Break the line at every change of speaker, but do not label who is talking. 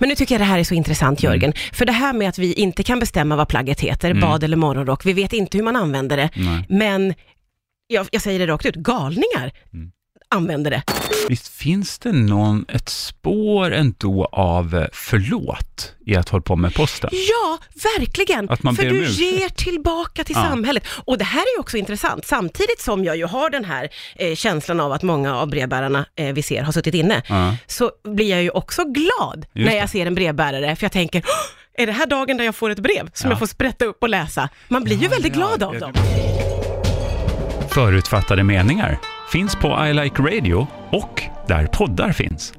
Men nu tycker jag det här är så intressant Jörgen, för det här med att vi inte kan bestämma vad plagget heter, bad eller morgonrock, vi vet inte hur man använder det,
Nej.
men jag, jag säger det rakt ut, galningar använder det.
Visst finns det någon, ett spår ändå av eh, förlåt i att hålla på med posten?
Ja, verkligen!
Att man
För
ber om
du
ursäkt.
ger tillbaka till
Ja.
samhället. Och det här är ju också intressant, samtidigt som jag ju har den här eh, känslan av att många av brevbärarna eh, vi ser har suttit inne,
Ja.
så blir jag ju också glad
Just
när
det.
jag ser en brevbärare, för jag tänker, "Åh, är det här dagen där jag får ett brev som
Ja.
jag får sprätta upp och läsa? Man blir ju väldigt glad av dem.
Förutfattade meningar finns på I Like Radio och där poddar finns.